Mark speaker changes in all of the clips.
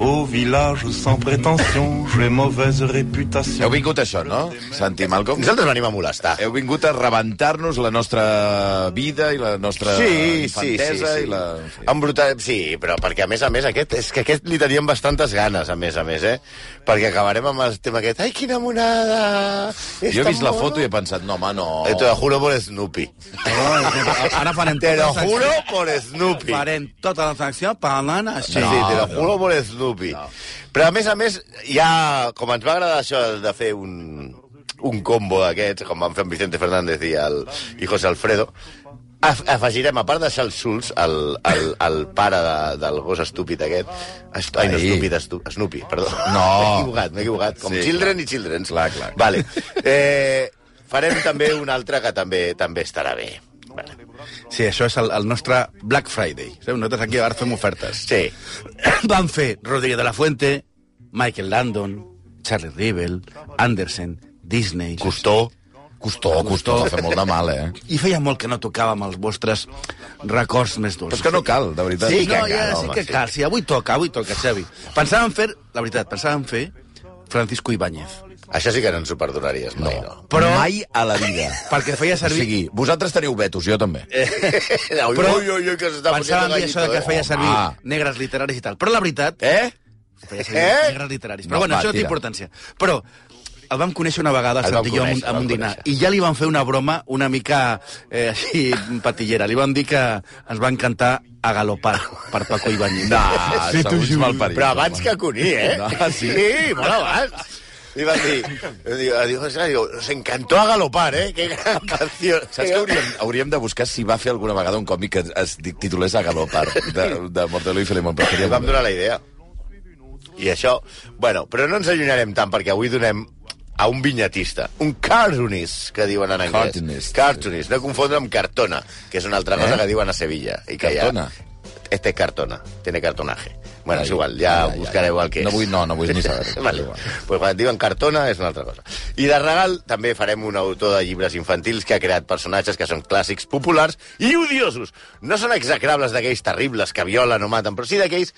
Speaker 1: Au village sans prétention, j'ai mauvaise réputation.
Speaker 2: Heu vingut a això, no, Santi Malcom?
Speaker 3: Nosaltres venim a molestar.
Speaker 2: Heu vingut a rebentar-nos la nostra vida i la nostra
Speaker 3: Sí, sí, sí,
Speaker 2: infantesa
Speaker 3: sí.
Speaker 2: i la...
Speaker 3: Embrutar... Sí, però perquè, a més a més, aquest, és que aquest li teníem bastantes ganes, a més a més, eh? Perquè acabarem amb el tema aquest... Ai, quina monada! És
Speaker 2: Jo he
Speaker 3: tan
Speaker 2: vist la
Speaker 3: mono!"
Speaker 2: foto i Oh, he pensat, no, home, no...
Speaker 3: Eh, Te lo juro por Snoopy.
Speaker 4: Ara farem
Speaker 3: Te lo
Speaker 4: tota la
Speaker 3: juro
Speaker 4: secció.
Speaker 3: por Snoopy.
Speaker 4: Farem tota la secció parlant
Speaker 3: Sí,
Speaker 4: així.
Speaker 3: sí, te lo juro por Snoopy. Però, a més a més, ja, com ens va agradar això de fer un, un combo d'aquests, com van fer amb Vicente Fernández i, el, i José Alfredo, af afegirem, a part de Charles Schulz, el, el, el pare de, del gos estúpid aquest... Est ai, no,
Speaker 2: Ai.
Speaker 3: estúpid, estú Snoopy, perdó.
Speaker 2: No.
Speaker 3: M'he equivocat, m'he equivocat. Com
Speaker 2: Sí,
Speaker 3: sí, Children
Speaker 2: clar.
Speaker 3: i Children.
Speaker 2: Clar, clar.
Speaker 3: Vale. Eh, farem també un altre que també també estarà bé. Vale.
Speaker 4: Sí, això és el, el nostre Black Friday. Sabeu? Nosaltres aquí ara fem ofertes.
Speaker 3: Sí.
Speaker 4: Van fer Rodríguez de la Fuente, Michael Landon, Charlie Rivel, Anderson, Disney...
Speaker 3: Costó.
Speaker 2: Costó, costó, fa molt de mal, eh?
Speaker 4: I feia molt que no tocàvem els vostres records més
Speaker 2: Però
Speaker 4: dolços.
Speaker 2: és que no cal, de veritat.
Speaker 4: Sí, que no,
Speaker 3: cal,
Speaker 4: ja, sí
Speaker 3: home,
Speaker 4: que
Speaker 3: sí.
Speaker 4: cal. Sí, avui toca, avui toca, Xavi. Pensàvem fer, la veritat, pensàvem fer Francisco Ibáñez.
Speaker 3: Això sí que no ens ho perdonaries mai, no.
Speaker 2: No, però...
Speaker 4: Però-
Speaker 2: Mai a la vida.
Speaker 4: Perquè
Speaker 2: O
Speaker 4: feia servir...
Speaker 2: sigui, vosaltres teniu vetos, jo també.
Speaker 3: Però,
Speaker 4: Però
Speaker 3: ui, ui, ui, que s'està
Speaker 4: pensàvem
Speaker 3: posant
Speaker 4: dir això de que
Speaker 3: gallito,
Speaker 4: feia
Speaker 3: eh?
Speaker 4: servir
Speaker 2: Home.
Speaker 4: negres literaris i tal. Però la veritat,
Speaker 3: Eh?
Speaker 4: feia servir
Speaker 3: Eh?
Speaker 4: negres literaris. Però
Speaker 2: No, va,
Speaker 4: bueno, això no té
Speaker 2: tira.
Speaker 4: importància. Però el vam conèixer una vegada,
Speaker 3: El
Speaker 4: el
Speaker 3: vam
Speaker 4: Santi i jo, amb,
Speaker 3: conèixer, el
Speaker 4: amb
Speaker 3: vam
Speaker 4: un dinar,
Speaker 3: conèixer.
Speaker 4: i ja li van fer una broma una mica eh, així patillera. Li van dir que ens van cantar a galopar per Paco Ibáñez.
Speaker 2: Ah, segons malparit.
Speaker 3: Però abans que Cuní, eh?
Speaker 2: No, sí.
Speaker 3: sí, molt abans. I van dir... Diu, diu, diu, nos encantó a galopar, eh? Que gran canció.
Speaker 2: Saps que hauríem, hauríem de buscar si va fer alguna vegada un còmic que es di- titulés a galopar, de, de Mortadelo i Filemón. Però
Speaker 3: Li
Speaker 2: seria
Speaker 3: vam donar la idea. I això... Bueno, però no ens allunyarem tant, perquè avui donem a un vinyetista, un cartoonist, que diuen en anglès.
Speaker 2: Cartoonist.
Speaker 3: Cartoonist, no confondre amb cartona, que és una altra cosa
Speaker 2: Eh?
Speaker 3: que diuen a Sevilla. I que
Speaker 2: Cartona.
Speaker 3: Ja... Este es cartona, tiene cartonaje. Bueno,
Speaker 2: Ai,
Speaker 3: és igual, ja,
Speaker 2: ai, ai,
Speaker 3: buscareu
Speaker 2: ai.
Speaker 3: el que és.
Speaker 2: No vull- no, no vull ni saber-ho.
Speaker 3: vale.
Speaker 2: És igual.
Speaker 3: Pues quan et diuen cartona és una altra cosa. I de regal també farem un autor de llibres infantils que ha creat personatges que són clàssics, populars i odiosos. No són execrables d'aquells terribles que violen o maten, però sí d'aquells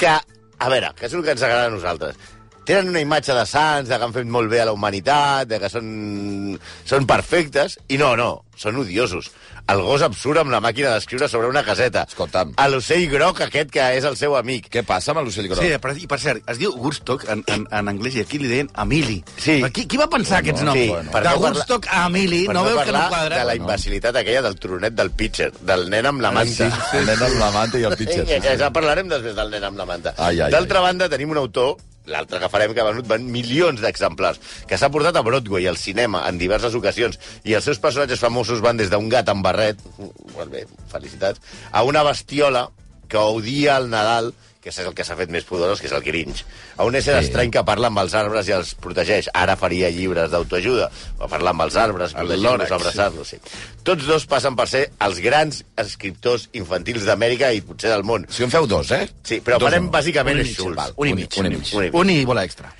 Speaker 3: que, a veure, que és el que ens agrada a nosaltres. Tenen una imatge de sants, de que han fet molt bé a la humanitat, de que són, són perfectes, i no, no, són odiosos. El gos absurd amb la màquina d'escriure sobre una caseta.
Speaker 2: Escolta'm.
Speaker 3: A l'ocell groc aquest que és el seu amic.
Speaker 2: Què passa amb l'ocell groc?
Speaker 4: Sí, per, i per cert, es diu Woodstock en, en, en anglès i aquí li deien Amili.
Speaker 3: Sí.
Speaker 4: Però Qui, qui va pensar aquests noms?
Speaker 3: sí, per
Speaker 4: de
Speaker 3: no parlar-
Speaker 4: Woodstock a Amili,
Speaker 3: Per
Speaker 4: no, veus que no Ah,
Speaker 3: parlar
Speaker 4: quadra?
Speaker 3: de la imbecilitat aquella del tronet del pitcher, del nen amb la manta.
Speaker 2: Sí, sí, el nen amb la manta i el pitxer.
Speaker 3: Sí, ja, ja parlarem després del nen amb la manta.
Speaker 2: Ai, ai,
Speaker 3: D'altra banda, tenim un autor, l'altre que farem, que ha venut van milions d'exemplars, que s'ha portat a Broadway, al cinema, en diverses ocasions, i els seus personatges famosos van des d'un gat amb barret, molt bé, felicitats, a una bestiola que odia el Nadal, que és el que s'ha fet més poderós, que és el Grinch. A un ésser
Speaker 2: Sí.
Speaker 3: sí. estrany que parla amb els arbres i els protegeix. Ara faria llibres d'autoajuda. Va parlar amb els arbres, protegir-los,
Speaker 4: lòrax,
Speaker 3: abraçar-los. Sí. Tots dos passen per ser els grans escriptors infantils d'Amèrica i potser del món.
Speaker 2: Si en feu dos, eh?
Speaker 3: Sí, però
Speaker 2: Dos
Speaker 3: parem
Speaker 2: no.
Speaker 3: bàsicament
Speaker 4: Un i
Speaker 3: és
Speaker 4: mig,
Speaker 3: Schultz.
Speaker 4: val, un i mig.
Speaker 2: Un i mig.
Speaker 3: Un i mig.
Speaker 4: Un i bola extra.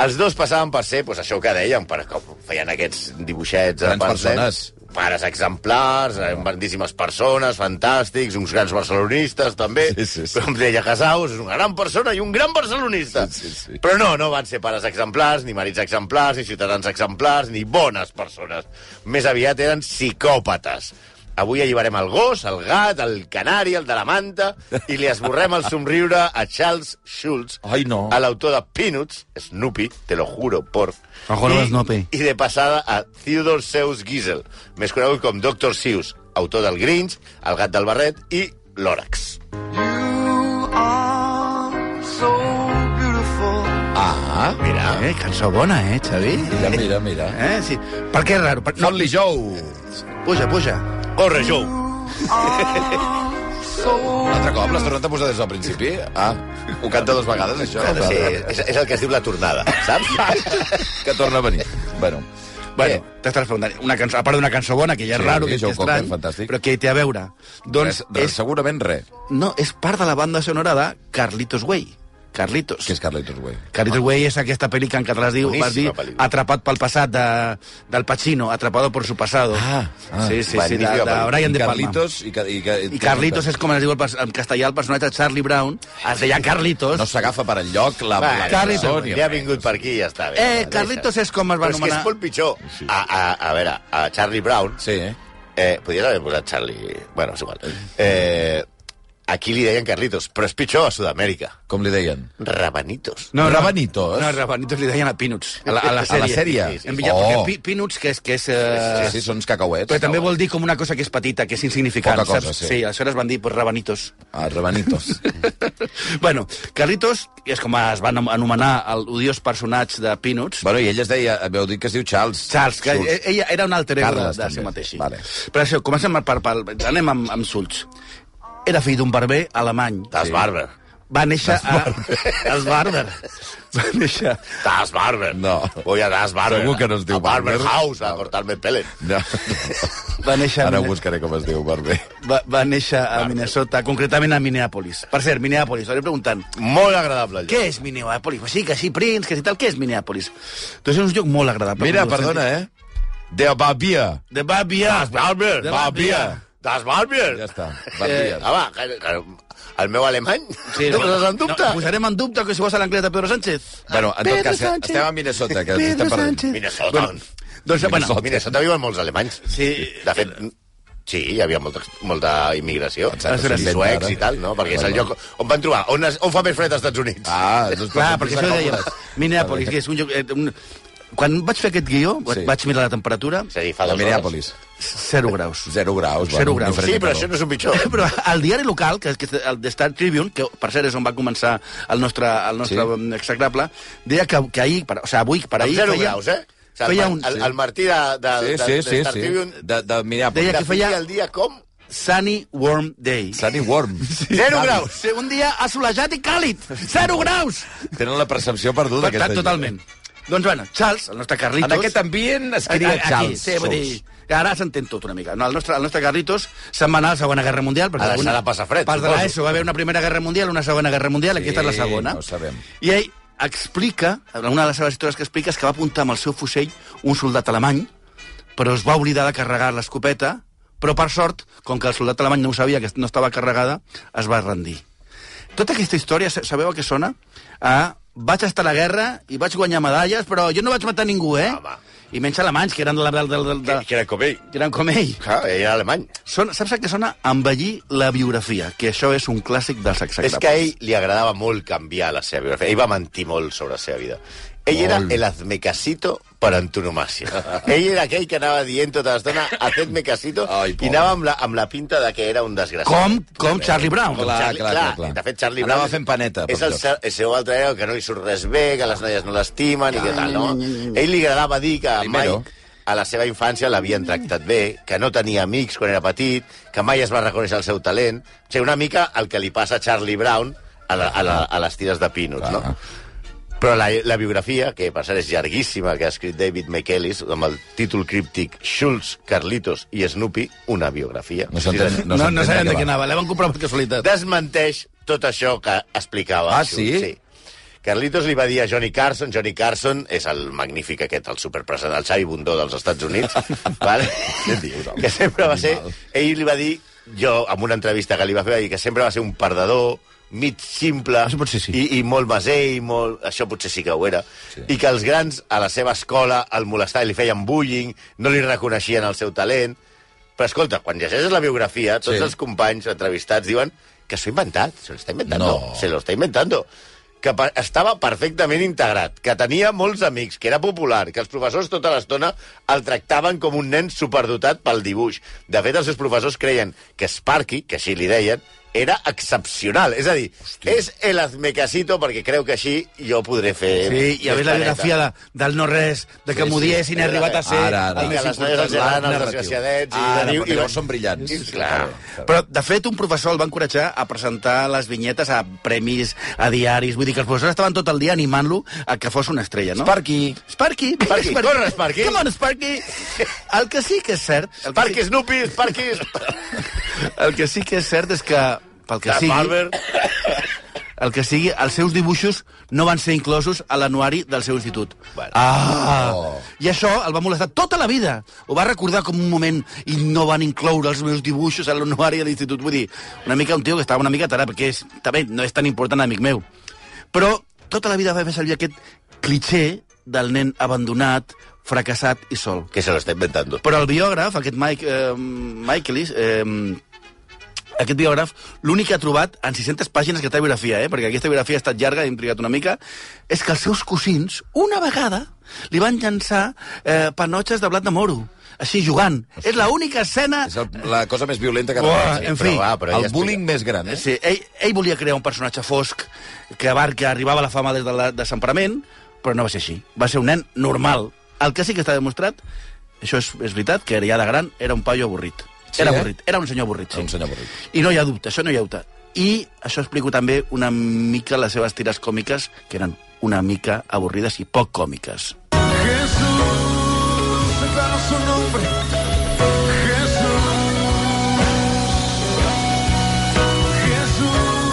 Speaker 3: Els dos passaven per ser, doncs, això que dèiem, per com feien aquests dibuixets...
Speaker 2: Grans
Speaker 3: eh, per ser
Speaker 2: persones.
Speaker 3: Pares exemplars, eh, grandíssimes persones, fantàstics, uns grans barcelonistes, també.
Speaker 2: Sí, sí, sí.
Speaker 3: Com deia Casaus, és una gran persona i un gran barcelonista.
Speaker 2: Sí, sí, sí.
Speaker 3: Però no, no van ser pares exemplars, ni marits exemplars, ni ciutadans exemplars, ni bones persones. Més aviat eren psicòpates. Avui alliberem el gos, el gat, el canari, el de la manta, i li esborrem el somriure a Charles Schulz,
Speaker 2: Ai,
Speaker 4: Oh.
Speaker 2: no.
Speaker 3: a l'autor de Peanuts, Snoopy, te lo juro, por...
Speaker 4: Ojo, no,
Speaker 3: I-
Speaker 4: Snoopy.
Speaker 3: I de passada a Theodore Seuss Giesel, més conegut com Dr. Seuss, autor del Grinch, El gat del barret i L'Òrax.
Speaker 2: Ah,
Speaker 3: Mira,
Speaker 4: Eh, cançó bona, eh, Xavi?
Speaker 2: mira, mira, mira.
Speaker 4: Eh, sí. Per què és raro? Per... No,
Speaker 2: Fot-li jou!
Speaker 4: puja, puja.
Speaker 3: corre, Jou.
Speaker 2: Un altre cop, l'has tornat a posar des del principi? Ah, ho canta dos vegades, això?
Speaker 3: Sí, és, és el que es diu la tornada, saps?
Speaker 2: Que torna a venir. Bueno,
Speaker 4: Bueno, t'estàs preguntant, una cançó, a part d'una cançó bona, que ja és
Speaker 2: Eh. Sí,
Speaker 4: raro,
Speaker 2: sí,
Speaker 4: que és
Speaker 2: Joe Cocker,
Speaker 4: estrany,
Speaker 2: fantàstic.
Speaker 4: però que hi té a veure.
Speaker 2: doncs
Speaker 4: Doncs
Speaker 2: res, res,
Speaker 4: és,
Speaker 2: segurament res.
Speaker 4: no, és part de la banda sonora de Carlitos Way, Carlitos.
Speaker 2: Que és Carlitos Way.
Speaker 4: Carlitos Way és aquesta pel·li que en català es diu, vas dir,
Speaker 3: Boníssima pel·lícula.
Speaker 4: Atrapat pel passat de, del Pacino, Atrapado por su pasado.
Speaker 2: Ah, ah,
Speaker 4: sí, sí, sí, de,
Speaker 3: magnífica
Speaker 4: de
Speaker 3: pel·lícula.
Speaker 4: Brian
Speaker 2: I
Speaker 4: De Palma.
Speaker 2: Carlitos... I, ca- i, ca-
Speaker 4: I Carlitos és com es diu el pers- en castellà el personatge de Charlie Brown, es deia Carlitos.
Speaker 2: No s'agafa per enlloc la...
Speaker 3: Va,
Speaker 2: la
Speaker 4: Carlitos.
Speaker 2: la-
Speaker 3: ja ha vingut per aquí i ja està. Bé,
Speaker 4: Eh,
Speaker 3: va,
Speaker 4: Carlitos
Speaker 3: deixa.
Speaker 4: és com es va
Speaker 3: Però és que és
Speaker 4: anomenar-
Speaker 3: molt pitjor. A, a, a veure, a Charlie Brown...
Speaker 2: Sí, eh?
Speaker 3: Eh, podries haver posat Charlie... Bueno, és igual. Eh, aquí li deien Carlitos, però és pitjor a Sud-amèrica.
Speaker 2: Com li deien?
Speaker 3: Rabanitos.
Speaker 2: Rabanitos?
Speaker 4: No, Rabanitos li deien a Peanuts. A la, a la
Speaker 2: A
Speaker 4: sèrie.
Speaker 2: la sèrie?
Speaker 3: Sí, sí,
Speaker 4: En Villar,
Speaker 2: oh.
Speaker 4: perquè pi, Peanuts, que és... Que és eh,
Speaker 2: Sí, sí, són uns cacauets.
Speaker 4: Però també vol dir com una cosa que és petita, que és insignificant,
Speaker 2: Poca cosa,
Speaker 4: saps?
Speaker 2: sí.
Speaker 4: sí, aleshores van dir pues, rabanitos.
Speaker 2: Ah, rabanitos.
Speaker 4: Bueno, Carlitos és com es va anom- anomenar el odiós personatge de Peanuts.
Speaker 2: bueno, i ell es deia... Veu dir que es diu Charles.
Speaker 4: Charles, que
Speaker 2: Schulz.
Speaker 4: e- ella era un alter ego
Speaker 2: Carles,
Speaker 4: de, de si
Speaker 2: també.
Speaker 4: mateixa.
Speaker 2: Vale.
Speaker 4: Però això, comencem per... per anem amb, amb Sults. Era fill d'un barber alemany.
Speaker 3: Das Barber.
Speaker 4: Va néixer a... Es Barber. Va néixer...
Speaker 3: Das Barber.
Speaker 2: No.
Speaker 3: Voy a Das Barber.
Speaker 2: Segur que no es diu
Speaker 3: a Barber.
Speaker 2: Barber.
Speaker 3: House a cortar-me pelen.
Speaker 2: No.
Speaker 4: Va néixer... a
Speaker 2: Ara ho
Speaker 4: Mine-
Speaker 2: buscaré com es diu, Barber.
Speaker 4: va, va néixer a Minnesota, concretament a Minneapolis. Per cert, Minneapolis, estaré preguntant,
Speaker 3: Molt agradable. allò.
Speaker 4: què és Minneapolis? Pues sí, que sí, Prince, que sí tal, què és Minneapolis? Doncs és un lloc molt agradable.
Speaker 2: Mira,
Speaker 4: com
Speaker 2: perdona, Ah, eh? De Babia.
Speaker 4: De Babia.
Speaker 3: Das Barber.
Speaker 4: De
Speaker 2: Barbier.
Speaker 3: Das Barber.
Speaker 2: Ja està.
Speaker 3: Eh,
Speaker 2: Babia.
Speaker 3: ah, va, que- que- el meu alemany? Sí, no poses en dubte?
Speaker 4: No, posarem en dubte que si vols a l'anglès de Pedro Sánchez.
Speaker 2: Bueno, en tot
Speaker 4: Pedro
Speaker 2: cas, eh,
Speaker 4: Sánchez.
Speaker 2: estem a Minnesota, que
Speaker 4: Pedro
Speaker 2: estem perdent.
Speaker 4: Sánchez.
Speaker 3: Minnesota.
Speaker 4: Bueno, doncs,
Speaker 3: Minnesota.
Speaker 4: bueno,
Speaker 3: Minnesota viuen molts alemanys.
Speaker 4: Sí.
Speaker 3: De fet, sí, hi havia molta, molta immigració.
Speaker 2: Exacte,
Speaker 3: I
Speaker 2: sí.
Speaker 3: suecs i tal, no? Perquè és el lloc on van trobar. On, es, on fa més fred als Estats Units?
Speaker 2: Ah, doncs
Speaker 4: Clar, perquè això ho dèiem. Minneapolis, que és un lloc... eh, Un... Quan vaig fer aquest guió,
Speaker 2: Sí.
Speaker 4: sí. vaig mirar la temperatura,
Speaker 3: És a dir, fa
Speaker 2: A
Speaker 3: dos hores.
Speaker 2: Minneapolis.
Speaker 4: 0 graus.
Speaker 2: Zero graus.
Speaker 4: Zero graus.
Speaker 2: diferent
Speaker 3: Sí, però
Speaker 2: calor.
Speaker 3: això no és un pitjor.
Speaker 4: Eh, Però el diari local, que és que és el The Star Tribune, que per cert és on va començar el nostre, el nostre
Speaker 2: Sí.
Speaker 4: sí. execrable, deia que, que ahir, per, o sigui, avui per
Speaker 3: Amb
Speaker 4: ahir...
Speaker 3: zero graus, eh? O sigui,
Speaker 4: feia
Speaker 3: el,
Speaker 4: un-
Speaker 3: el, el Martí de, de,
Speaker 2: Sí,
Speaker 3: de,
Speaker 2: sí,
Speaker 3: de
Speaker 2: sí,
Speaker 3: Star
Speaker 2: sí.
Speaker 3: Tribune
Speaker 2: De, de Minneapolis.
Speaker 4: Deia que feia-
Speaker 3: definia el dia com...
Speaker 4: Sunny Warm Day.
Speaker 2: Sunny Warm.
Speaker 3: Zero graus!
Speaker 4: Sí, un dia assolejat i càlid! Zero graus!
Speaker 2: Tenen la percepció perduda, Tota aquesta
Speaker 4: Tot, totalment. Doncs bueno, Charles, el nostre Carlitos... Eh,
Speaker 2: En aquest ambient es
Speaker 4: Aquí,
Speaker 2: cria Charles.
Speaker 4: sí, vull
Speaker 2: Schulz.
Speaker 4: dir, ara s'entén tot una mica. No, el, nostre, el nostre Carlitos se'n va anar a la Segona Guerra Mundial.
Speaker 3: Ha
Speaker 4: Perquè
Speaker 3: de ser de passar fred,
Speaker 4: Part de
Speaker 3: suposo.
Speaker 4: l'ESO va haver una Primera Guerra Mundial, una Segona Guerra Mundial,
Speaker 2: Sí,
Speaker 4: aquesta és la Segona.
Speaker 2: ho sabem.
Speaker 4: I ell explica, una de les seves històries que explica és que va apuntar amb el seu fusell un soldat alemany, però es va oblidar de carregar l'escopeta, però per sort, com que el soldat alemany no ho sabia, que no estava carregada, es va rendir. Tota aquesta història, sa- sabeu a què sona? A vaig estar a la guerra i vaig guanyar medalles, però jo no vaig matar ningú, eh?
Speaker 3: Home.
Speaker 4: I menys alemanys, que eren, de, de, de, de, de,
Speaker 3: Ah, Que, que era com ell.
Speaker 4: que eren com ell.
Speaker 3: Clar, ell era alemany.
Speaker 4: Sona, saps a què sona? Envellir la biografia, que això és un clàssic dels
Speaker 3: És
Speaker 4: exactes.
Speaker 3: que a ell li agradava molt canviar la seva biografia. Ell va mentir molt sobre la seva vida. Ell era el hazme casito per antonomàcia. Ell era aquell que anava dient tota l'estona hazme casito
Speaker 2: Ai,
Speaker 3: i
Speaker 2: pobre.
Speaker 3: anava amb la, amb la pinta de que era un desgraciat.
Speaker 4: Com, com Charlie Brown.
Speaker 3: Com
Speaker 2: Clar,
Speaker 3: Charlie,
Speaker 2: clar,
Speaker 3: Eh, clar,
Speaker 2: clar, clar.
Speaker 3: De fet, Charlie
Speaker 2: Anava
Speaker 3: Brown...
Speaker 2: fent paneta per
Speaker 3: És el,
Speaker 2: tot.
Speaker 3: ser- el seu altre ego, que no li surt res bé, que les noies no l'estimen i que tal, no? Ell li agradava dir que
Speaker 2: Primero.
Speaker 3: mai a la seva infància l'havien tractat bé, que no tenia amics quan era petit, que mai es va reconèixer el seu talent. O sigui, una mica el que li passa a Charlie Brown a, la, a, la, a les tires de Peanuts, no? Però la, la biografia, que per cert és llarguíssima, que ha escrit David McKellis, amb el títol críptic Schultz, Carlitos i Snoopy, una biografia.
Speaker 2: No s'entén.
Speaker 4: No, no,
Speaker 2: s'entén
Speaker 4: no sabem
Speaker 2: va.
Speaker 4: de què anava, la van comprar per casualitat.
Speaker 3: desmenteix tot això que explicava.
Speaker 2: Ah,
Speaker 3: Schultz,
Speaker 2: sí?
Speaker 3: Carlitos li va dir a Johnny Carson, Johnny Carson és el magnífic aquest, el superpresident, el Xavi Bundó dels Estats Units, vale?
Speaker 2: Què dius, home?
Speaker 3: que sempre va ser...
Speaker 2: Animal.
Speaker 3: Ell li va dir, jo, en una entrevista que li va fer, va dir que sempre va ser un perdedor, mig simple,
Speaker 4: Això potser sí.
Speaker 3: i, i molt mesell, molt... això potser sí que ho era,
Speaker 2: Sí.
Speaker 3: sí. i que els grans a la seva escola el molestaven, li feien bullying, no li reconeixien el seu talent. Però escolta, quan llegeixes la biografia, tots
Speaker 2: Sí.
Speaker 3: sí. els companys entrevistats diuen que s'ho ha inventat, se lo está inventando,
Speaker 2: No.
Speaker 3: no. se lo está inventando que per, estava perfectament integrat, que tenia molts amics, que era popular, que els professors tota l'estona el tractaven com un nen superdotat pel dibuix. De fet, els seus professors creien que Sparky, que així li deien, era excepcional. És a dir, Hosti. és el azmecasito perquè creu que així jo podré fer...
Speaker 4: Sí, i a
Speaker 3: més
Speaker 4: més la
Speaker 3: planeta.
Speaker 4: biografia de, del no-res, de
Speaker 2: Sí,
Speaker 4: que
Speaker 2: sí.
Speaker 4: sí, mudiés i n'he
Speaker 3: Era
Speaker 4: arribat a ser...
Speaker 2: Ara, ara.
Speaker 4: el
Speaker 3: I
Speaker 4: més
Speaker 3: que les noies
Speaker 4: important,
Speaker 3: els agraden
Speaker 4: l'art
Speaker 3: els
Speaker 4: narratiu.
Speaker 3: desgraciadets i...
Speaker 2: Ara,
Speaker 3: i-
Speaker 2: però
Speaker 3: i-
Speaker 2: llavors són brillants.
Speaker 3: I, clar.
Speaker 4: Però, de fet, un professor el va encoratjar a presentar les vinyetes a premis, a diaris... Vull dir que els professors estaven tot el dia animant-lo a que fos una estrella, no?
Speaker 2: Sparky.
Speaker 4: Sparky!
Speaker 3: Sparky, corre, Sparky.
Speaker 4: Come on, Sparky! El que sí que és cert... El que,
Speaker 3: Parque Snoopy, Parque...
Speaker 4: sí, el que sí que és cert és que, pel que
Speaker 3: Das
Speaker 4: sigui...
Speaker 3: Barber.
Speaker 4: el que sigui, els seus dibuixos no van ser inclosos a l'anuari del seu institut.
Speaker 3: Bueno.
Speaker 4: Ah!
Speaker 2: Oh.
Speaker 4: I això el va molestar tota la vida. Ho va recordar com un moment i no van incloure els meus dibuixos a l'anuari de l'institut. Vull dir, una mica un tio que estava una mica tarat, perquè és, també no és tan important amic meu. Però tota la vida va fer servir aquest cliché del nen abandonat, fracassat i sol.
Speaker 3: Que se lo está inventando.
Speaker 4: Però el biògraf, aquest Mike, eh, Michaelis, eh, aquest biògraf, l'únic que ha trobat en 600 pàgines que té biografia, eh, perquè aquesta biografia ha estat llarga, hem trigat una mica, és que els seus cosins, una vegada, li van llançar eh, panotxes de blat de moro, així jugant. És l'única escena...
Speaker 2: És el, la cosa més violenta que...
Speaker 4: Uah, en fi,
Speaker 2: però, va, però
Speaker 3: ja
Speaker 2: el bullying més gran, eh?
Speaker 4: Sí, ell, ell volia crear un personatge fosc que, abar, que arribava a la fama des de la desemparament, però no va ser així. Va ser un nen normal. El que sí que està demostrat, això és, és veritat, que ja de gran era un paio avorrit.
Speaker 2: Sí,
Speaker 4: era
Speaker 2: eh?
Speaker 4: avorrit, era un senyor avorrit, sí.
Speaker 2: Un senyor avorrit.
Speaker 4: I no hi ha dubte, això no hi ha dubte. I això explico també una mica les seves tires còmiques, que eren una mica avorrides i poc còmiques.
Speaker 5: Jesús, declaro su nombre. Jesús, Jesús.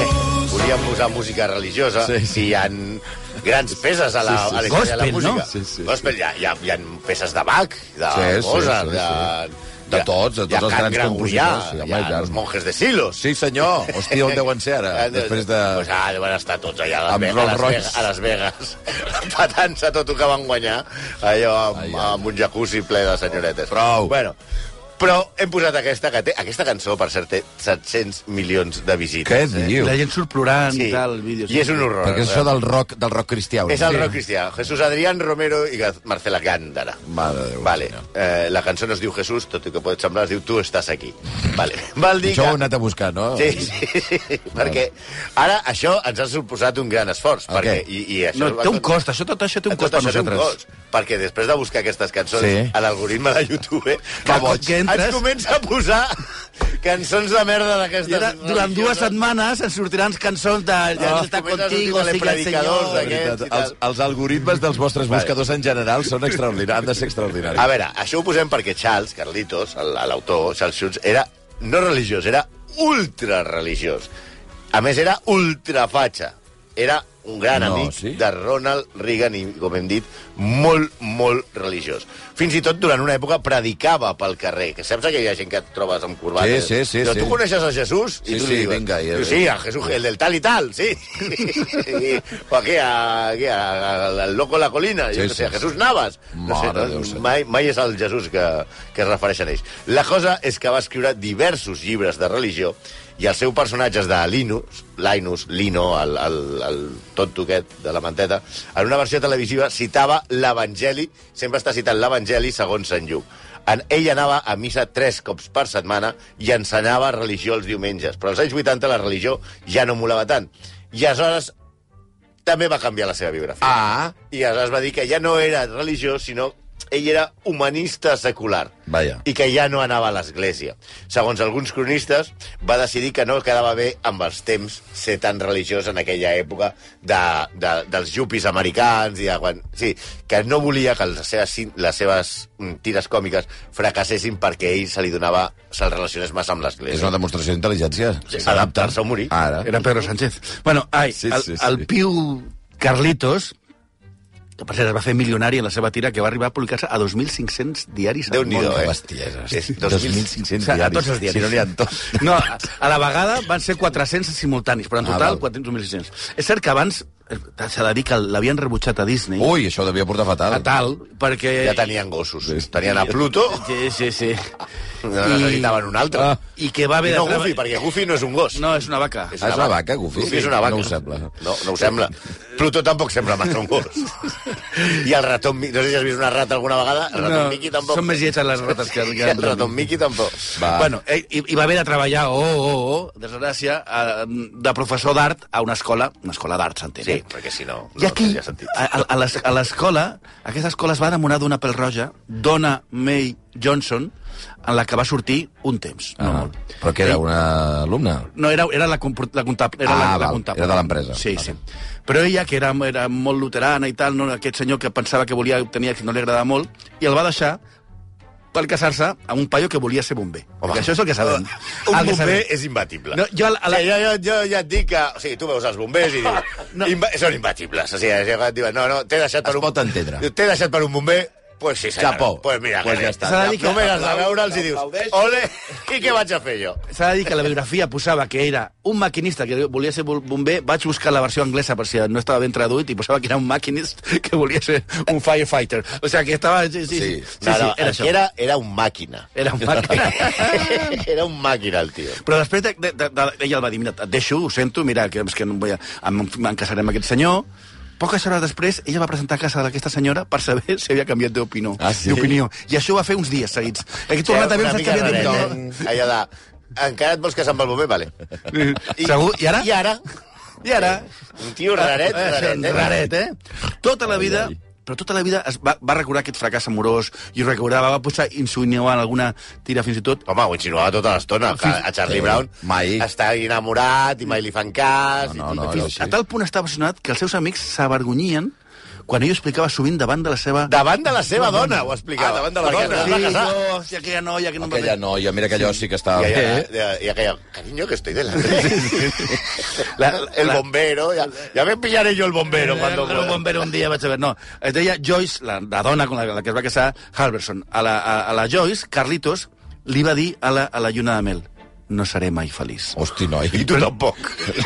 Speaker 3: Eh, Volíem posar música religiosa sí,
Speaker 2: Sí,
Speaker 3: sí.
Speaker 2: sí.
Speaker 3: i hi ha grans peces a la,
Speaker 2: Sí, sí.
Speaker 3: a la història de la
Speaker 4: Gospel, no?
Speaker 3: música.
Speaker 2: Sí, sí.
Speaker 3: Gospel, hi ha, hi, ha, hi ha peces de Bach, de
Speaker 2: Sí, sí,
Speaker 3: Mozart,
Speaker 2: sí,
Speaker 3: de...
Speaker 2: De
Speaker 3: hi ha-
Speaker 2: tots, de
Speaker 3: hi ha
Speaker 2: tots els
Speaker 3: Can
Speaker 2: grans
Speaker 3: Gregorià,
Speaker 2: compositors. Sí, home,
Speaker 3: Hi ha
Speaker 2: i tant.
Speaker 3: els monges de Silos.
Speaker 2: Sí, senyor. Hòstia, on deuen ser ara?
Speaker 3: Eh,
Speaker 2: Després de...
Speaker 3: Pues ah, deuen estar tots allà a Las,
Speaker 2: Amb
Speaker 3: Vegas, a Las,
Speaker 2: Rolls
Speaker 3: Vegas, a Las Vegas, empatant-se tot el que van guanyar, allò amb,
Speaker 2: Ai,
Speaker 3: ai,
Speaker 2: ai.
Speaker 3: ai. amb un jacuzzi ple de senyoretes.
Speaker 2: Prou.
Speaker 3: Bueno, però hem posat aquesta, que té, aquesta cançó, per cert, té 700 milions de visites.
Speaker 2: Què
Speaker 3: eh?
Speaker 4: I
Speaker 2: diu?
Speaker 4: la gent surt plorant
Speaker 3: Sí.
Speaker 4: i tal, el vídeo.
Speaker 3: I és un horror.
Speaker 2: Perquè és això del rock, del rock cristià.
Speaker 3: doncs, És el rock cristià. Jesús Adrián Romero i Gaz- Marcela Gándara.
Speaker 2: Mare de Déu,
Speaker 3: Vale.
Speaker 2: senyor.
Speaker 3: Eh, la cançó no es diu Jesús, tot i que pot semblar, es diu Tu estàs aquí. Vale. Val dir
Speaker 2: Això ho
Speaker 3: que...
Speaker 2: heu anat a buscar, no?
Speaker 3: Sí, sí, sí, perquè ara això ens ha suposat un gran esforç.
Speaker 2: El
Speaker 3: Perquè,
Speaker 2: què?
Speaker 3: i, i això
Speaker 4: No,
Speaker 3: va
Speaker 4: té un
Speaker 3: tot-
Speaker 4: cost, això tot això té un
Speaker 3: tot
Speaker 4: cost per
Speaker 3: això té un
Speaker 4: nosaltres.
Speaker 3: cost, perquè després de buscar aquestes cançons,
Speaker 2: Sí.
Speaker 3: a l'algoritme de YouTube eh,
Speaker 4: Que boig. Que entres-
Speaker 3: ens comença a posar cançons de merda d'aquestes...
Speaker 4: I ara, durant dues setmanes ens sortiran cançons de ja
Speaker 3: Ah,
Speaker 4: oh, està
Speaker 3: comença a
Speaker 4: contigo,
Speaker 3: sortir
Speaker 4: siga el
Speaker 3: predicadors,
Speaker 4: senyor...
Speaker 3: aquest.
Speaker 2: Veritat, Els, els algoritmes dels vostres
Speaker 3: Vale.
Speaker 2: buscadors en general són extraordinaris, han de ser extraordinaris.
Speaker 3: A veure, això ho posem perquè Charles, Carlitos, el- l'autor, Charles Schultz, era no religiós, era ultrareligiós. A més, era ultrafatxa. Era un gran
Speaker 2: No,
Speaker 3: amic
Speaker 2: sí?
Speaker 3: de Ronald Reagan i, com hem dit, molt, molt religiós. Fins i tot durant una època predicava pel carrer, que saps que hi ha gent que et trobes amb corbates?
Speaker 2: Sí, sí, sí,
Speaker 3: Però
Speaker 2: sí.
Speaker 3: tu coneixes a Jesús?
Speaker 2: Sí,
Speaker 3: I tu
Speaker 2: sí,
Speaker 3: li dius,
Speaker 2: vinga, i-
Speaker 3: diu, sí, a Jesús, el del tal i tal, sí. I- o aquí, a, aquí a, a, al loco la colina,
Speaker 2: Sí,
Speaker 3: jo què
Speaker 2: sí,
Speaker 3: sé, a
Speaker 2: sí.
Speaker 3: Jesús Navas.
Speaker 2: Mare de
Speaker 3: no,
Speaker 2: Déu senyor.
Speaker 3: mai, mai és el Jesús que, que es refereixen ells. La cosa és que va escriure diversos llibres de religió i els seus personatges de Linus, Linus, Lino, el, el, el tonto aquest de la manteta, en una versió televisiva citava l'Evangeli, sempre està citant l'Evangeli segons Sant Lluc. En, ell anava a missa tres cops per setmana i ensenyava religió els diumenges, però als anys 80 la religió ja no molava tant. I aleshores també va canviar la seva biografia.
Speaker 2: Ah,
Speaker 3: I aleshores va dir que ja no era religiós, sinó ell era humanista secular.
Speaker 2: Vaja.
Speaker 3: I que ja no anava a l'església. Segons alguns cronistes, va decidir que no quedava bé amb els temps ser tan religiós en aquella època de, de, dels yuppies americans i de quan... Sí, que no volia que les seves, cin- les seves mm, tires còmiques fracassessin perquè ell se li donava... se'l relacionés massa amb
Speaker 2: és
Speaker 3: l'església.
Speaker 2: una demostració d'intel·ligència.
Speaker 3: Sí, adaptar-se o morir.
Speaker 2: Ara.
Speaker 4: Era Pedro Sánchez. Bueno, ai,
Speaker 2: Sí,
Speaker 4: sí, el,
Speaker 2: sí, sí.
Speaker 4: el piu Carlitos, que per cert es va fer milionari en la seva tira, que va arribar a publicar-se a 2.500 diaris al
Speaker 3: Déu-n'hi-do,
Speaker 4: món.
Speaker 3: eh?
Speaker 2: Bestieses.
Speaker 3: És
Speaker 2: 2.500
Speaker 4: O sigui,
Speaker 2: diaris.
Speaker 4: A tots els diaris.
Speaker 2: Si no n'hi ha tots.
Speaker 4: No, a- a la vegada van ser 400 simultanis, però en
Speaker 2: Ah,
Speaker 4: total
Speaker 2: val.
Speaker 4: 400 o 1.600. És cert que abans eh, s'ha de dir que l'havien rebutjat a Disney,
Speaker 2: Ui, això ho devia portar fatal.
Speaker 4: a tal, perquè...
Speaker 3: Ja tenien gossos. Tenien a Pluto,
Speaker 4: Sí, sí, sí.
Speaker 3: no necessitaven un altre.
Speaker 2: Ah.
Speaker 4: I que va
Speaker 3: I
Speaker 4: haver
Speaker 3: no
Speaker 4: de... trava-
Speaker 3: Goofy, perquè Goofy no és un gos.
Speaker 4: No, és una vaca.
Speaker 2: Ah, és una vaca, Goofy?
Speaker 3: Goofy és una vaca.
Speaker 2: No ho sembla.
Speaker 3: No, no ho sembla. Pluto tampoc sembla massa un gos. I el raton... Mi- No sé si has vist una rata alguna vegada. El raton no, Mickey tampoc.
Speaker 4: Són més lletges les rates que...
Speaker 3: I
Speaker 4: que
Speaker 3: el raton Mickey tampoc.
Speaker 2: Va.
Speaker 4: Bueno, ell, i, i va haver de treballar, oh, oh, oh, desgràcia, a, de professor d'art a una escola, una escola d'art, s'entén.
Speaker 3: Sí, ah,
Speaker 4: eh?
Speaker 3: perquè si no...
Speaker 4: I aquí,
Speaker 3: No, tindria sentit.
Speaker 4: a, a- a l'es- a l'escola, aquesta escola es va enamorar d'una pèl roja, Donna May Johnson, en la que va sortir un temps, no
Speaker 2: Ah,
Speaker 4: molt.
Speaker 2: però que era
Speaker 4: Ell-
Speaker 2: una alumna?
Speaker 4: No, era, era la, compor- la comptable. Era
Speaker 2: Ah,
Speaker 4: la, la
Speaker 2: val,
Speaker 4: comptable.
Speaker 2: era de l'empresa.
Speaker 4: Sí,
Speaker 2: Vale.
Speaker 4: sí. Però ella, que era, era molt luterana i tal, no, aquest senyor que pensava que volia obtenir que no li agradava molt, i el va deixar per casar-se amb un paio que volia ser bomber.
Speaker 3: Home.
Speaker 4: Home. Això és el que sabem.
Speaker 3: Un
Speaker 4: Ah, El que
Speaker 3: bomber
Speaker 4: sabem.
Speaker 3: és imbatible.
Speaker 4: No, jo a la- a la-
Speaker 3: sí, jo, jo, jo ja et dic que... O sigui, tu veus els bombers i dius...
Speaker 4: No.
Speaker 3: no. imba són imbatibles. O sigui, et diuen, no, no, t'he deixat per
Speaker 2: Es
Speaker 3: un...
Speaker 2: pot entendre.
Speaker 3: T'he deixat per un bomber, pues sí, senyor.
Speaker 2: Chapeau.
Speaker 3: Pues mira,
Speaker 2: Pues
Speaker 3: pues
Speaker 2: ja
Speaker 3: ja
Speaker 2: està.
Speaker 3: està.
Speaker 4: S'ha de dir que-
Speaker 3: Només has de veure'ls i dius,
Speaker 2: Aplaudeix.
Speaker 3: ole, i què vaig a fer jo?
Speaker 4: S'ha de dir que la biografia posava que era un maquinista que volia ser bol- bomber. Vaig buscar la versió anglesa per si no estava ben traduït i posava que era un maquinist que volia ser un firefighter. O sigui, que estava... Sí, sí, sí, sí, sí,
Speaker 3: no, no,
Speaker 4: era
Speaker 3: això
Speaker 4: això.
Speaker 3: era, era un màquina.
Speaker 4: Era un maquinista.
Speaker 3: era un màquina, el tio.
Speaker 4: Però després de, de, de, de, ella el va dir, mira, et deixo, ho sento, mira, que, és que no em vull a- em, em casaré amb aquest senyor. Poques hores després, ella va presentar a casa d'aquesta senyora per saber si havia canviat d'opinió.
Speaker 2: Ah, sí?
Speaker 4: D'opinió. I això ho va fer uns dies seguits. He tornat
Speaker 3: Era
Speaker 4: a veure
Speaker 3: una
Speaker 4: si
Speaker 3: mica
Speaker 4: havia
Speaker 3: raret,
Speaker 4: d'opinió.
Speaker 3: eh? Allò de... Encara et vols casar amb el bomber? Vale.
Speaker 4: Segur? I ara?
Speaker 3: eh? I ara?
Speaker 4: I ara?
Speaker 3: Un tio raret,
Speaker 4: Eh,
Speaker 3: raret, eh?
Speaker 4: raret, eh? Tota la
Speaker 2: Ai,
Speaker 4: vida...
Speaker 2: ai.
Speaker 4: Però tota la vida es va, va recordar aquest fracàs amorós i ho recordava, va posar insinuant alguna tira fins i tot.
Speaker 3: Home, ho insinuava tota l'estona. que A Charlie
Speaker 2: Sí,
Speaker 3: Brown
Speaker 2: mai.
Speaker 3: està enamorat i mai li fan cas.
Speaker 2: No,
Speaker 3: i-
Speaker 2: no,
Speaker 3: i-
Speaker 2: era
Speaker 4: Fins
Speaker 2: així.
Speaker 4: a tal punt estava obsessionat que els seus amics s'avergonyien quan ell ho explicava sovint davant de la seva...
Speaker 3: Davant de la seva dona, ho explicava.
Speaker 2: Ah, davant de la
Speaker 3: Perquè
Speaker 2: dona.
Speaker 3: es va
Speaker 4: Sí,
Speaker 3: casar.
Speaker 4: jo, hòstia, aquella noia que no em va
Speaker 2: Aquella
Speaker 4: fer-
Speaker 2: noia, mira que allò sí que estava
Speaker 3: I
Speaker 2: bé.
Speaker 3: aquella, i- i aquella, cariño, que estoy delante.
Speaker 4: La-
Speaker 3: el
Speaker 4: la-
Speaker 3: bombero, ya, ya me pillaré yo el bombero cuando
Speaker 4: Era un bombero un dia vaig saber. No, es deia Joyce, la, la dona amb la, la que es va casar, Halverson. A la, a, a la Joyce, Carlitos, li va dir a la, a la lluna de mel no seré mai feliç.
Speaker 2: Hosti, noi.
Speaker 3: I tu tampoc.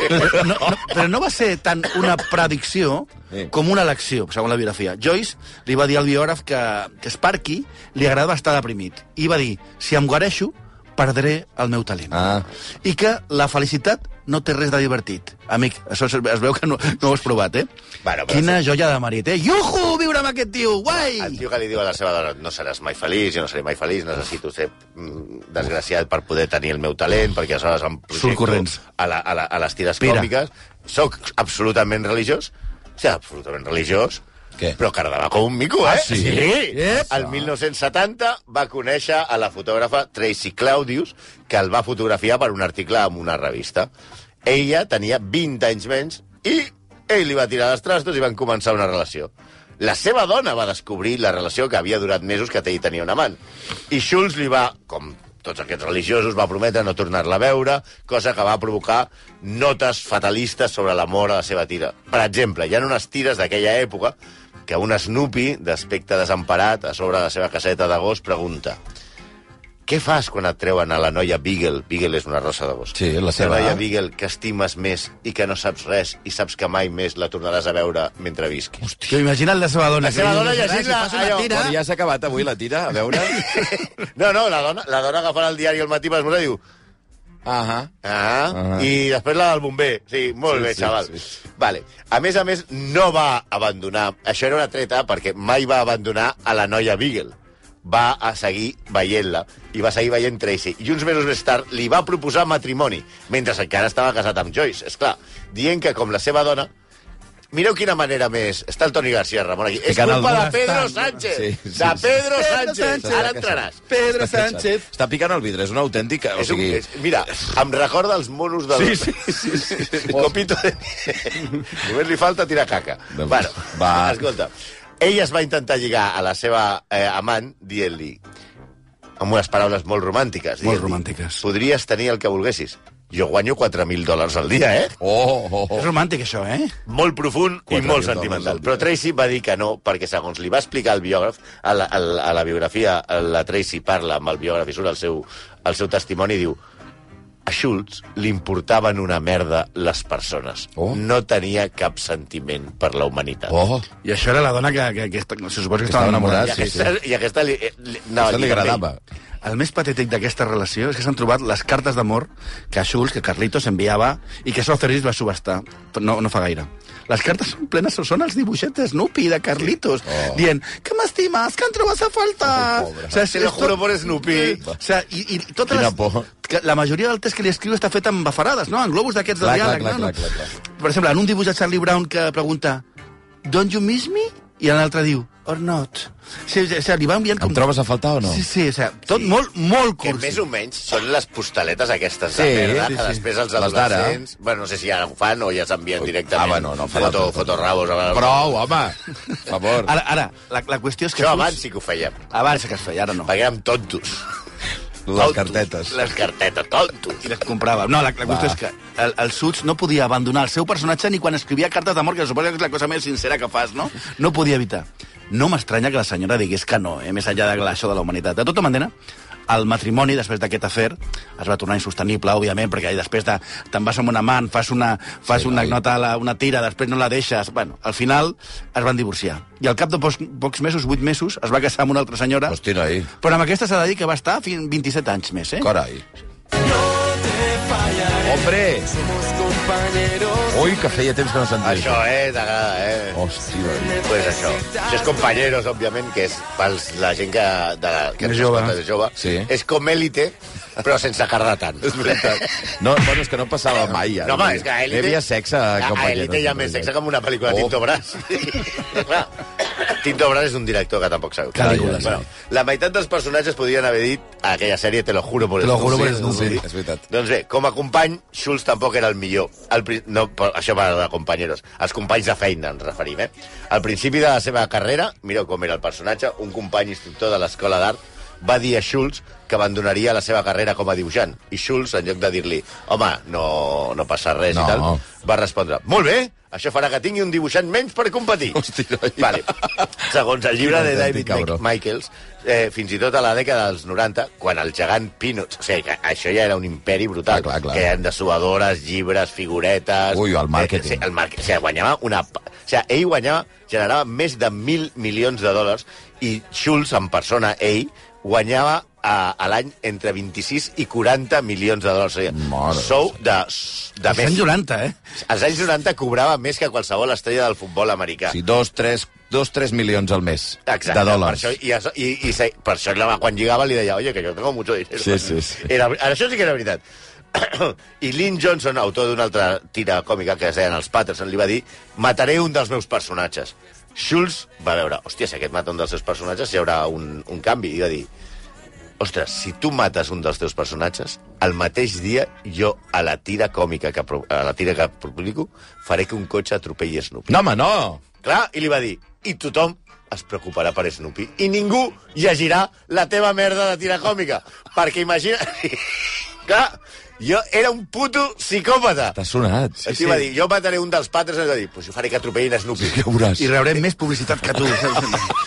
Speaker 4: Però no, no, però no va ser tant una predicció
Speaker 2: Sí.
Speaker 4: com una elecció, segons la biografia. Joyce li va dir al biògraf que, que Sparky li agradava estar deprimit. I va dir, si em guareixo, perdré el meu talent.
Speaker 2: Ah.
Speaker 4: I que la felicitat no té res de divertit. Amic, això es, es veu que no, no ho has provat, eh?
Speaker 3: Bueno, però
Speaker 4: Quina joia de marit, eh? Iuhu, viure amb aquest tio, guai!
Speaker 3: El tio que li diu a la seva dona, no seràs mai feliç, jo no seré mai feliç, necessito ser mm, desgraciat per poder tenir el meu talent, perquè aleshores em
Speaker 4: Surt corrents.
Speaker 3: projecto a, la, a, la, a les tires
Speaker 4: Pere.
Speaker 3: còmiques. Soc absolutament religiós, o sigui, absolutament religiós,
Speaker 2: Què?
Speaker 3: però cardava com un mico, eh?
Speaker 2: Ah, sí? Ep.
Speaker 3: El 1970 va conèixer a la fotògrafa Tracy Claudius, que el va fotografiar per un article en una revista. Ella tenia 20 anys menys i ell li va tirar les trastos i van començar una relació. La seva dona va descobrir la relació que havia durat mesos que ell tenia un amant. I Schulz li va, com tots aquests religiosos, va prometre no tornar-la a veure, cosa que va provocar notes fatalistes sobre l'amor a la seva tira. Per exemple, hi ha unes tires d'aquella època que un Snoopy, d'aspecte desemparat, a sobre la seva caseta de gos, pregunta què fas quan et treuen a la noia Beagle? Beagle és una rosa de gos.
Speaker 2: Sí, la seva-
Speaker 3: La noia Beagle que estimes més i que no saps res i saps que mai més la tornaràs a veure mentre visquis.
Speaker 4: Que imagina't la seva dona.
Speaker 3: La seva dona llegint-la, allò,
Speaker 2: Quan ja s'ha acabat avui la tira, a veure...
Speaker 3: No, no, la dona, la dona agafarà el diari al matí per esmorzar i diu...
Speaker 2: Ahà.
Speaker 3: Ah,
Speaker 2: Ah.
Speaker 3: i després la del bomber. Sí, molt
Speaker 2: Sí,
Speaker 3: bé,
Speaker 2: sí,
Speaker 3: xaval.
Speaker 2: sí.
Speaker 3: Vale. A més a més, no va abandonar... Això era una treta perquè mai va abandonar a la noia Beagle. Va a seguir veient-la i va seguir veient Tracy. I uns mesos més tard li va proposar matrimoni, mentre encara estava casat amb Joyce, és clar, dient que com la seva dona Mireu quina manera més... Està el Toni García Ramon aquí. És
Speaker 2: Picant
Speaker 3: culpa de
Speaker 2: algun
Speaker 3: Pedro
Speaker 2: estant.
Speaker 3: Sánchez.
Speaker 2: Sí, sí,
Speaker 3: de
Speaker 2: sí.
Speaker 3: Pedro
Speaker 4: Pedro
Speaker 3: Sánchez.
Speaker 4: Sánchez.
Speaker 3: Ara entraràs.
Speaker 4: Pedro
Speaker 2: Està fixat. Està picant el vidre, és una autèntica... O
Speaker 3: És un,
Speaker 2: sigui,
Speaker 3: és, mira, em recorda els monos del...
Speaker 2: Sí, sí, sí, sí.
Speaker 3: Copito de... Només li falta tirar caca.
Speaker 2: Doncs,
Speaker 3: bueno,
Speaker 2: va.
Speaker 3: va. escolta. Ell es va intentar lligar a la seva eh, amant dient-li amb unes paraules molt romàntiques.
Speaker 4: Molt
Speaker 3: dient-li,
Speaker 4: romàntiques.
Speaker 3: Podries tenir el que volguessis. Jo guanyo 4.000 dòlars al dia, eh?
Speaker 2: Oh, oh, oh.
Speaker 4: És romàntic, això, eh?
Speaker 3: molt profund
Speaker 2: 4.000
Speaker 3: i molt
Speaker 2: dòlars al
Speaker 3: sentimental.
Speaker 2: dia.
Speaker 3: Però Tracy va dir que no, perquè segons li va explicar el biògraf, a la, a la, a la biografia a la Tracy parla amb el biògraf i surt el seu, el seu testimoni i diu a Schultz li importaven una merda les persones.
Speaker 2: Oh.
Speaker 3: No tenia cap sentiment per la humanitat.
Speaker 2: Oh,
Speaker 4: I això era la dona que, que, que, que se suposa que
Speaker 2: Estava
Speaker 4: estava
Speaker 2: enamorada,
Speaker 4: enamorada.
Speaker 3: I
Speaker 2: sí, sí.
Speaker 3: aquesta, i aquesta li, eh, li, no,
Speaker 2: això li agradava.
Speaker 4: El més patètic d'aquesta relació és que s'han trobat les cartes d'amor que a Schultz, que Carlitos enviava i que Sotheris va subestar no, no fa gaire. Les cartes són plenes, són els dibuixets de Snoopy, de Carlitos,
Speaker 2: Oh.
Speaker 4: dient que m'estimes, que em trobes a faltar.
Speaker 2: Oh, pobre.
Speaker 4: és-
Speaker 3: Te lo
Speaker 4: és tot-
Speaker 3: juro por Snoopy.
Speaker 4: O sea, i, i totes
Speaker 2: Quina
Speaker 4: les,
Speaker 2: por.
Speaker 4: que la majoria del text que li escriu està fet amb bafarades, no? En globus d'aquests de
Speaker 2: Clar, clar,
Speaker 4: diàleg.
Speaker 2: clar,
Speaker 4: no?
Speaker 2: clar, clar, clar.
Speaker 4: Per exemple, en un dibuix de Charlie Brown que pregunta Don't you miss me? I l'altre diu or not. Sí, o sigui, li va enviant com...
Speaker 2: Em trobes a faltar o no?
Speaker 4: Sí, sí, o sigui, tot sí. molt, molt
Speaker 3: Que
Speaker 4: cursi.
Speaker 3: més o menys són les postaletes aquestes
Speaker 2: Sí,
Speaker 3: de merda,
Speaker 2: sí,
Speaker 3: que
Speaker 2: sí.
Speaker 3: després els
Speaker 2: Les d'ara.
Speaker 3: adolescents... Bueno, no sé si ara ho fan o ja s'envien
Speaker 2: Ah,
Speaker 3: directament.
Speaker 2: bueno, no, fan
Speaker 3: foto,
Speaker 2: tot, tot.
Speaker 3: fotorrabos. a-
Speaker 2: Prou, home! Per favor.
Speaker 4: Ara, ara la, la qüestió és que...
Speaker 3: Això
Speaker 4: tu-
Speaker 3: abans sí que ho fèiem,
Speaker 4: Abans que es feia, ara no.
Speaker 3: perquè érem tontos.
Speaker 2: Les cartetes.
Speaker 3: Les cartetes, tontos.
Speaker 4: I les comprava. No, la, la qüestió és que el, el Suits no podia abandonar el seu personatge ni quan escrivia cartes d'amor, que suposo que és la cosa més sincera que fas, no? No podia evitar. No m'estranya que la senyora digués que no, eh? més enllà de això de la humanitat. De tota manera, el matrimoni, després d'aquest afer, es va tornar insostenible, òbviament, perquè després de, te'n vas amb un amant, fas una, fas
Speaker 2: Sí,
Speaker 4: sí, una
Speaker 2: noi.
Speaker 4: nota, a la, una tira, després no la deixes... Bueno, al final es van divorciar. I al cap de pocs, pocs mesos, vuit mesos, es va casar amb una altra senyora.
Speaker 2: Hosti, noi.
Speaker 4: Però amb aquesta s'ha de dir que va estar fins 27 anys més, eh?
Speaker 2: Carai. Hombre! Ui, que feia temps que no sentia.
Speaker 3: Això, eh, t'agrada, eh?
Speaker 2: Hosti, noi.
Speaker 3: Pues això. Això és Compañeros, òbviament, que és pels, la gent que, de, que
Speaker 4: Més
Speaker 3: ens
Speaker 4: jove.
Speaker 3: escolta de jove.
Speaker 2: Sí.
Speaker 3: És com Élite, però sense carrar tant.
Speaker 2: És veritat. No, bueno, és que no passava mai, ja.
Speaker 3: No, home, és que a
Speaker 2: Élite...
Speaker 3: Élite...
Speaker 2: Hi havia sexe
Speaker 3: a
Speaker 2: a doncs,
Speaker 3: A
Speaker 2: Compañeros.
Speaker 3: Élite hi ha més sexe que en una pel·lícula de
Speaker 2: Oh.
Speaker 3: Tinto Brass. Clar. Tinto Brass és un director que tampoc sabeu.
Speaker 4: Calígula, sí.
Speaker 3: bueno, la meitat dels personatges podrien haver dit a aquella sèrie Te lo juro por el
Speaker 4: Te lo juro por el
Speaker 2: Sí, sí, és veritat.
Speaker 3: Doncs bé, com a company, Schultz tampoc era el millor. El, pri- no, per- això va de companyeros. Els companys de feina, ens referim, eh? Al principi de la seva carrera, mireu com era el personatge, un company instructor de l'Escola d'Art va dir a Schultz que abandonaria la seva carrera com a dibuixant. I Schultz, en lloc de dir-li, home, no, no passa res
Speaker 2: No.
Speaker 3: i tal, va respondre, molt bé, això farà que tingui un dibuixant menys per competir.
Speaker 2: Hosti, noi.
Speaker 3: Vale. Segons el llibre de
Speaker 2: autèntic
Speaker 3: David
Speaker 2: cabró.
Speaker 3: Mc- Michaels, eh, fins i tot a la dècada dels 90, quan el gegant Peanuts... O sigui, que això ja era un imperi brutal.
Speaker 2: Ah, clar, clar.
Speaker 3: Que eren dessuadores, llibres, figuretes...
Speaker 2: Ui, el màrqueting.
Speaker 3: Eh, sí, el màrqueting. O sigui, guanyava una... pa- O sigui, ell guanyava, generava més de mil milions de dòlars i Schultz, en persona, ell, guanyava eh, a, a l'any entre 26 i 40 milions de dòlars. O sigui,
Speaker 2: Mare de
Speaker 3: sou de, de
Speaker 4: Als anys
Speaker 3: més.
Speaker 4: 90, eh?
Speaker 3: Als anys 90 cobrava més que qualsevol estrella del futbol americà.
Speaker 2: Sí, dos, tres, dos, tres milions al mes
Speaker 3: Exacte,
Speaker 2: de dòlars.
Speaker 3: Per això, i, això- i, i, se- per això la, quan lligava li deia, oye, que yo tengo mucho dinero.
Speaker 2: Sí, sí, sí.
Speaker 3: Era, ara això sí que era veritat. I Lynn Johnson, autor d'una altra tira còmica que es deien els Patterson, li va dir mataré un dels meus personatges. Schultz va veure, hòstia, si aquest mata un dels seus personatges hi haurà un, un canvi. I va dir, ostres, si tu mates un dels teus personatges, el mateix dia jo a la tira còmica que, pro- a la tira que publico faré que un cotxe atropelli Snoopy.
Speaker 2: No, home, no!
Speaker 3: Clar, i li va dir, i tothom es preocuparà per Snoopy. I ningú llegirà la teva merda de tira còmica. Perquè imagina... Clar, jo era un puto psicòpata.
Speaker 2: T'ha sonat.
Speaker 3: Sí, sí. va dir, jo mataré un dels patres i va dir, pues jo faré que atropellin Snoopy.
Speaker 2: Ja veuràs.
Speaker 4: I rebrem més publicitat que tu.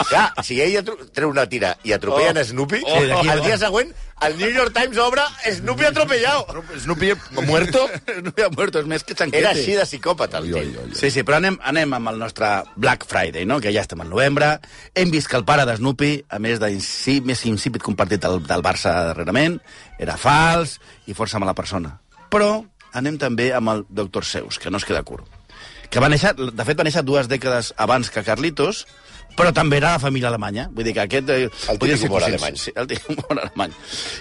Speaker 3: Clar, si ell atro- treu una tira i atropellen
Speaker 2: Oh.
Speaker 3: oh. Snoopy,
Speaker 2: Oh.
Speaker 3: oh. el dia següent el New York Times obre Snoopy atropellat.
Speaker 2: Snoopy muerto?
Speaker 4: no hi ha muertos, més que
Speaker 3: Era
Speaker 4: xanquete.
Speaker 3: així de psicòpata, el
Speaker 2: Oi, oi,
Speaker 3: tio.
Speaker 2: oi.
Speaker 4: Sí, sí, però anem, anem amb el nostre Black Friday, no? que ja estem al novembre. Hem vist que el pare de Snoopy, a més d'incí- més insípid compartit del, del Barça darrerament, era fals i força mala persona. Però anem també amb el Dr. Seuss, que no es queda curt. Que va néixer, de fet, va néixer dues dècades abans que Carlitos, però també era de família alemanya. Vull dir que aquest... eh,
Speaker 3: El
Speaker 4: podia
Speaker 3: típic
Speaker 4: ser
Speaker 3: humor
Speaker 4: possible.
Speaker 3: alemany.
Speaker 4: Sí, el tio humor alemany.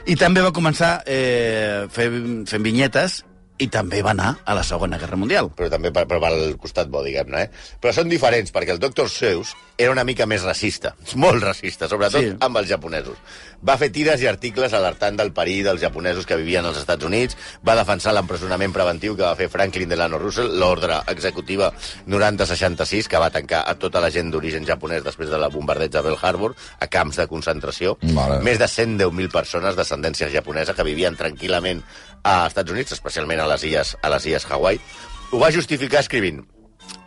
Speaker 4: I també va començar eh, fent, fent vinyetes i també va anar a la Segona Guerra Mundial.
Speaker 3: però també per, per al costat bo, diguem-ne. Eh? Però són diferents, perquè el Dr. Seuss era una mica més racista, molt racista, sobretot
Speaker 4: Sí.
Speaker 3: sí. amb els japonesos. Va fer tires i articles alertant del perill dels japonesos que vivien als Estats Units, va defensar l'empresonament preventiu que va fer Franklin Delano Roosevelt, l'ordre executiva 9066, que va tancar a tota la gent d'origen japonès després de la bombardeig de Pearl Harbor, a camps de concentració.
Speaker 2: Mare.
Speaker 3: Més de 110.000 persones d'ascendència japonesa que vivien tranquil·lament a Estats Units, especialment a les illes, a les illes Hawaii. Ho va justificar escrivint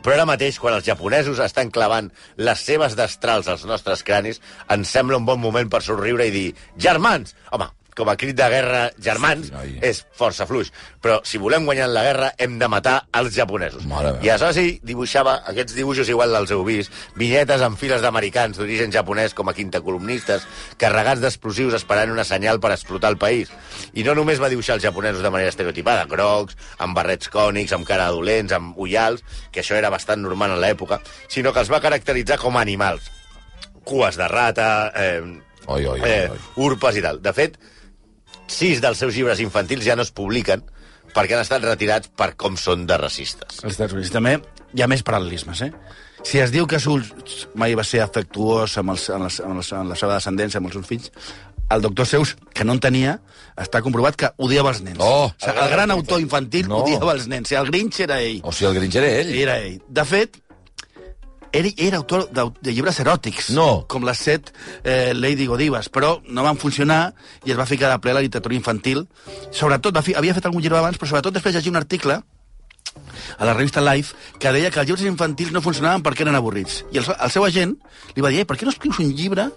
Speaker 3: però ara mateix, quan els japonesos estan clavant les seves destrals als nostres cranis, ens sembla un bon moment per somriure i dir «Germans!» Home, com a crit de guerra, germans,
Speaker 2: Sí, noi.
Speaker 3: és força fluix. Però si volem guanyar la guerra, hem de matar els japonesos.
Speaker 2: Mare meva.
Speaker 3: I aleshores ell dibuixava aquests dibuixos igual dels heu vist, vinyetes amb files d'americans d'origen japonès com a quinta columnistes, carregats d'explosius esperant una senyal per explotar el país. I no només va dibuixar els japonesos de manera estereotipada, grocs, amb barrets cònics, amb cara de dolents, amb ullals, que això era bastant normal en l'època, sinó que els va caracteritzar com a animals. Cues de rata, eh,
Speaker 2: Oi, oi, oi,
Speaker 3: eh,
Speaker 2: oi.
Speaker 3: urpes i tal. De fet, sis dels seus llibres infantils ja no es publiquen perquè han estat retirats per com són de racistes.
Speaker 4: als Estats Units també hi ha més paral·lelismes, eh? Si es diu que Schultz mai va ser afectuós amb, els, amb, les, amb, les, amb la seva descendència, amb els seus fills, el doctor Seus, que no en tenia, està comprovat que odiava els nens.
Speaker 2: No.
Speaker 4: o sigui, el gran autor infantil
Speaker 2: No.
Speaker 4: no. odiava els nens. O sigui, el Grinch era ell.
Speaker 2: O sigui, el Grinch era ell.
Speaker 4: Era ell. De fet, era, era autor de, de llibres eròtics,
Speaker 2: No.
Speaker 4: com les set eh, Lady Godivas, però no van funcionar i es va ficar de ple a la literatura infantil. Sobretot, va fi, havia fet algun llibre abans, però sobretot després llegia un article a la revista Life que deia que els llibres infantils no funcionaven perquè eren avorrits. I el, seu- el seu agent li va dir, "Ei, per què no escrius un llibre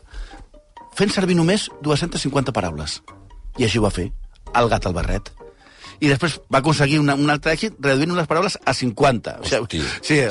Speaker 4: fent servir només 250 paraules? I així ho va fer, el gat al barret. I després va aconseguir una, un altre èxit reduint les paraules a 50. O eh.
Speaker 2: Hosti,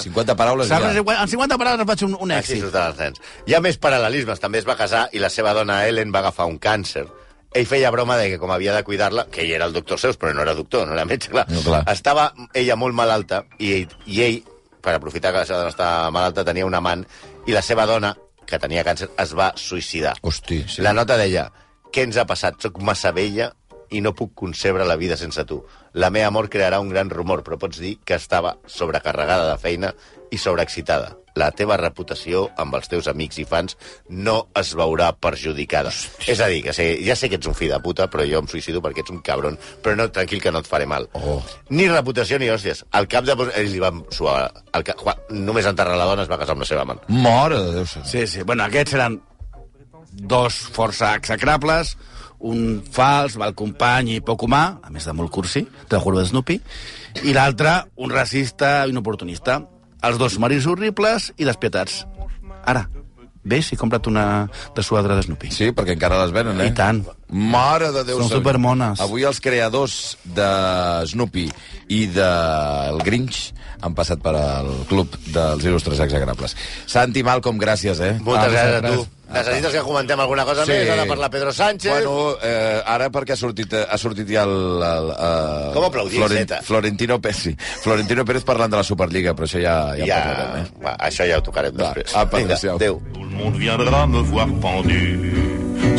Speaker 2: 50 paraules
Speaker 4: Saps,
Speaker 2: ja. Ah,
Speaker 4: cinquan- En 50 paraules vaig un, un
Speaker 3: Així
Speaker 4: èxit.
Speaker 3: surten els nens. Hi ha més paral·lelismes. També es va casar i la seva dona Ellen va agafar un càncer. Ell feia broma de que com havia de cuidar-la, que ell era el doctor Seus, però no era doctor, no era metge, clar.
Speaker 2: No, clar.
Speaker 3: Estava ella molt malalta i, i ell, per aprofitar que la seva dona estava malalta, tenia un amant i la seva dona, que tenia càncer, es va suïcidar.
Speaker 2: Hosti,
Speaker 3: Sí.
Speaker 2: sí.
Speaker 3: La nota deia, què ens ha passat? Soc massa vella i no puc concebre la vida sense tu. La meva mort crearà un gran rumor, però pots dir que estava sobrecarregada de feina i sobreexcitada. La teva reputació amb els teus amics i fans no es veurà perjudicada. Hosti. És a dir, que sé, ja sé que ets un fill de puta, però jo em suïcido perquè ets un cabron, però no, tranquil, que no et faré mal.
Speaker 2: Oh.
Speaker 3: Ni reputació ni hòsties. Al cap de... Ells li van suar... El ca... quan- Només enterrar la dona es va casar amb la seva amant.
Speaker 2: Mora de Déu.
Speaker 4: Sí, sí. Bueno, aquests seran dos força execrables, un fals, mal company i poc humà, a més de molt cursi, te lo juro de Snoopy, i l'altre, un racista i un oportunista. Els dos marits horribles i despietats. Ara, vés i compra't una dessuadra de Snoopy.
Speaker 2: Sí, perquè encara les venen, eh?
Speaker 4: I tant.
Speaker 2: Mare de Déu.
Speaker 4: Són
Speaker 2: sant.
Speaker 4: supermones.
Speaker 2: Avui els creadors de Snoopy i de el Grinch han passat per al club dels il·lustres exagrables. Santi Malcom, gràcies, eh?
Speaker 3: Moltes
Speaker 2: Ah,
Speaker 3: gràcies a tu. Necessites que comentem alguna cosa sí. més? Ara parla Pedro Sánchez. Bueno,
Speaker 2: Bueno, eh, ara perquè ha sortit, ha sortit ja el... el, el
Speaker 3: Com aplaudir, Zeta.
Speaker 2: Florentino Pérez, sí. Florentino Pérez parlant de la Superliga, però això ja, ja,
Speaker 3: ja,
Speaker 2: ja... parlarem, eh?
Speaker 3: va, això ja ho tocarem
Speaker 2: Va,
Speaker 3: després.
Speaker 2: apa,
Speaker 3: Vinga,
Speaker 2: adéu-siau.
Speaker 3: adéu.
Speaker 1: Tout le monde viendra me voir pendu,